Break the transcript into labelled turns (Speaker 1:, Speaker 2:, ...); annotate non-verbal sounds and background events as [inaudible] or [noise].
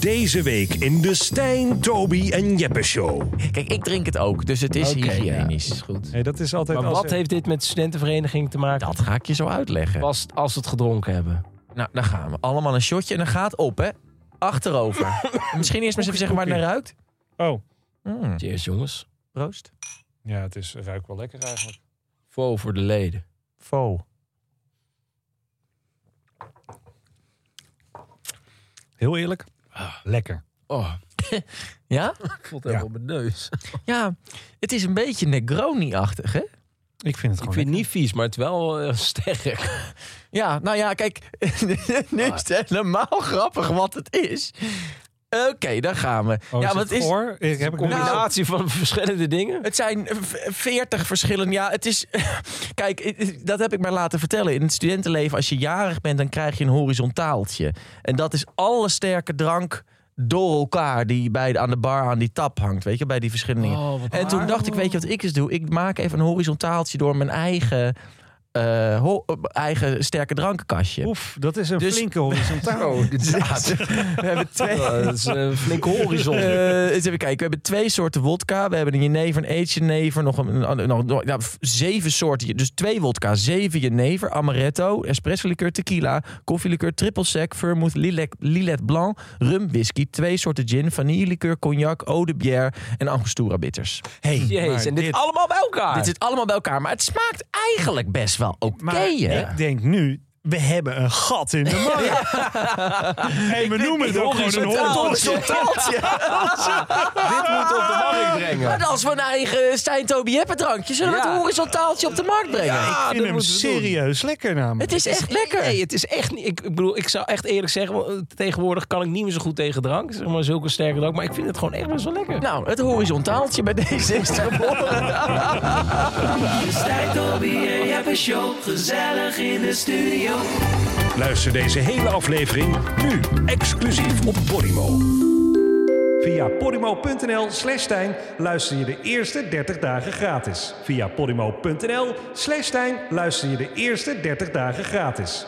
Speaker 1: Deze week in de Stijn, Toby en Jeppe Show.
Speaker 2: Kijk, ik drink het ook, dus het is
Speaker 3: Oké,
Speaker 2: hygiënisch.
Speaker 3: ja, is goed.
Speaker 4: Nee, dat is altijd
Speaker 3: Maar
Speaker 4: als-
Speaker 3: wat heeft dit met studentenvereniging te maken?
Speaker 2: Dat ga ik je zo uitleggen.
Speaker 3: Pas als ze het gedronken hebben.
Speaker 2: Nou, dan gaan we. Allemaal een shotje en dan gaat op, hè. Achterover. Misschien eerst maar eens even zeggen waar het naar ruikt.
Speaker 4: Oh,
Speaker 2: Mm,
Speaker 3: Cheers jongens.
Speaker 2: proost.
Speaker 4: ja, het is, ruikt wel lekker eigenlijk.
Speaker 3: Voor voor de leden.
Speaker 2: Faux.
Speaker 4: Heel eerlijk, lekker.
Speaker 3: Oh,
Speaker 2: [laughs] Ja?
Speaker 3: voelt
Speaker 4: helemaal
Speaker 3: op mijn neus.
Speaker 2: Ja, het is een beetje Negroni-achtig, hè?
Speaker 4: Ik vind het
Speaker 3: Ik
Speaker 4: gewoon
Speaker 3: vind het niet vies, maar het is wel eh, sterk.
Speaker 2: Ja, nou ja, kijk, nu is het helemaal grappig wat het is. Oké, daar gaan we.
Speaker 4: Oh,
Speaker 2: ja,
Speaker 4: is
Speaker 2: want
Speaker 4: het voor? Ik heb ik nu-
Speaker 2: Nou,
Speaker 3: Combinatie van verschillende dingen.
Speaker 2: Het zijn veertig verschillende. Ja, het is. [laughs] Kijk, eh, dat heb ik mij laten vertellen. In het studentenleven, als je jarig bent, dan krijg je een horizontaaltje. En dat is alle sterke drank door elkaar die bij de, aan de bar aan die tap hangt. Weet je, bij die verschillende. dingen.
Speaker 3: Oh, wat
Speaker 2: en toen
Speaker 3: waar.
Speaker 2: dacht ik, weet je wat ik eens doe? Ik maak even een horizontaaltje door mijn eigen, eh, ho- eh, eigen sterke drankenkastje.
Speaker 4: Oef, dat is een
Speaker 2: Dus-
Speaker 4: flinke
Speaker 3: [laughs]
Speaker 4: horizontaal.
Speaker 2: [laughs]
Speaker 3: Oh,
Speaker 2: we hebben twee.
Speaker 3: Ja, dat is een flinke
Speaker 2: [laughs]
Speaker 3: horizon.
Speaker 2: Eh, eens even kijken. We hebben twee soorten wodka. We hebben een jenever, een eetje jenever. Nog een, een- nog, nog- nou, f- zeven soorten. Dus twee wodka, zeven jenever, amaretto, espresso liqueur, tequila, koffielikeur, triple sec, vermouth, lilac, lilet blanc, rum, whisky, twee soorten gin, vanilleliqueur, cognac, eau de bière en angostura bitters.
Speaker 4: Hey,
Speaker 3: Jezus, en dit, allemaal bij elkaar.
Speaker 2: Dit zit allemaal bij elkaar, maar het smaakt eigenlijk best wel oké.
Speaker 4: Ah. Maar
Speaker 2: hè?
Speaker 4: ik denk nu, we hebben een gat in de markt.
Speaker 3: [laughs]
Speaker 4: Hey, we noemen het ook gewoon een
Speaker 2: Horizontaal,
Speaker 4: horizontaaltje.
Speaker 2: horizontaaltje.
Speaker 3: dit moet op de
Speaker 4: [laughs]
Speaker 3: markt brengen.
Speaker 2: Maar als we een eigen Stijn Toby Jeppe drankje, zullen we
Speaker 3: Ja.
Speaker 2: het horizontaaltje op de markt brengen?
Speaker 4: Ik vind
Speaker 3: ah, dat
Speaker 4: hem
Speaker 3: moeten we doen.
Speaker 4: serieus lekker namelijk.
Speaker 2: Het is echt lekker.
Speaker 3: Nee, het is echt niet. Ik, ik bedoel, ik zou echt eerlijk zeggen, want, eh, tegenwoordig kan ik niet meer zo goed tegen drank. Zeg maar zulke sterke drank. Maar ik vind het gewoon echt best wel lekker.
Speaker 2: Nou, het horizontaaltje bij deze is te geboren.
Speaker 1: Luister deze hele aflevering nu exclusief op Podimo. Via podimo.nl slash Stijn luister je de eerste 30 dagen gratis. Via podimo.nl slash Stijn luister je de eerste 30 dagen gratis.